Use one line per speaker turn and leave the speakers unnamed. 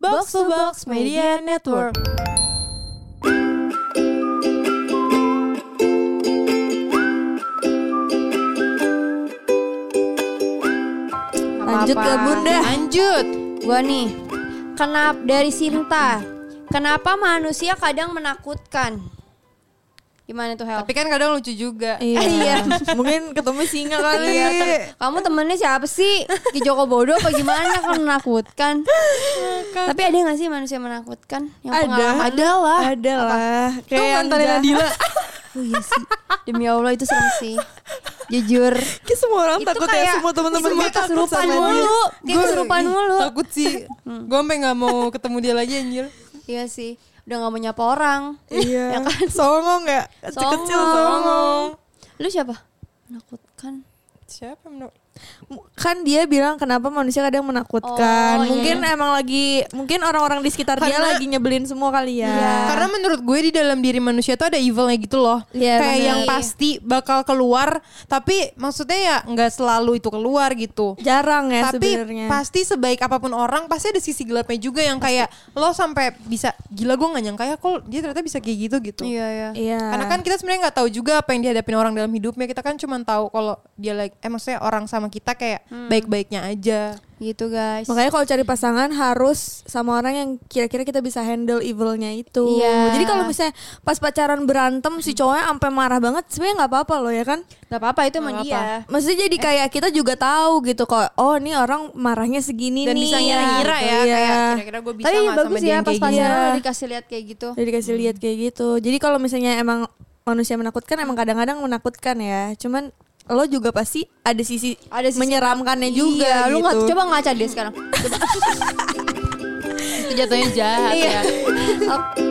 Box to Box Media Network.
Lanjut ke Bunda.
Lanjut.
Gua nih. Kenapa dari Sinta? Kenapa manusia kadang menakutkan? Gimana tuh Hel?
Tapi kan kadang lucu juga.
Eh, iya.
Mungkin ketemu singa kali.
Iya, ter- kamu temennya siapa sih? Ki Joko Bodo apa gimana kan menakutkan? Tapi ada gak sih manusia menakutkan? Yang pengalaman?
Ada lah.
Ah,
Ada lah. Kayak yang jahat.
Oh iya sih. Demi Allah itu serem sih. Jujur.
Kayak semua orang takut ya semua teman-teman
gue kesurupan mulu. Kayak kesurupan mulu.
Takut sih.
Hmm.
Gue sampe gak mau ketemu dia lagi anjir.
Iya sih. Udah gak mau nyapa orang.
Iya.
kan?
Songong ya. Kecil songong.
Lu siapa? Menakutkan.
Siapa menurut?
kan dia bilang kenapa manusia kadang menakutkan.
Oh, iya.
mungkin emang lagi mungkin orang-orang di sekitar dia
Karena- Iya.
lagi nyebelin semua kali ya.
Karena menurut gue di dalam diri manusia tuh ada evilnya gitu loh.
Iya,
Kayak
bener.
yang pasti bakal keluar. Tapi maksudnya ya nggak selalu itu keluar gitu.
jarang ya
tapi
sebenarnya.
pasti sebaik apapun orang pasti ada sisi gelapnya juga yang kayak lo sampai bisa gila gue nggak nyangka ya kok dia ternyata bisa kayak gitu gitu.
Iya, iya.
Iya.
Karena kan kita sebenarnya nggak tahu juga apa yang dihadapin orang dalam hidupnya. Kita kan cuma tahu kalau dia like, eh maksudnya orang sama kita kayak
Hmm.
baik-baiknya aja.
Gitu guys.
makanya kalau cari pasangan harus sama orang yang kira-kira kita bisa handle evilnya itu.
Iya.
Jadi kalau misalnya pas pacaran berantem si cowoknya sampai marah banget sebenarnya nggak apa-apa loh ya kan.
Gak apa-apa itu emang dia.
Maksudnya
Eh.
jadi kayak kita juga tahu gitu kok. Oh, ini orang marahnya segini
Dan
nih.
bisa ngira-ngira ya,
Iya.
kayak kira-kira gue bisa
Tapi
nggak sama
bagus
dia
ya
yang
pas
kayak gini. Iya,
pacaran
gini.
udah dikasih lihat kayak gitu.
Jadi dikasih lihat kayak gitu. Jadi kalau misalnya emang manusia menakutkan emang kadang-kadang menakutkan ya. Cuman lo juga pasti ada sisi,
Ada sisi-
menyeramkannya juga
Iya, lu nggak
gitu.
coba ngaca dia sekarang.
Itu jatuhnya jahat ya.
Oke.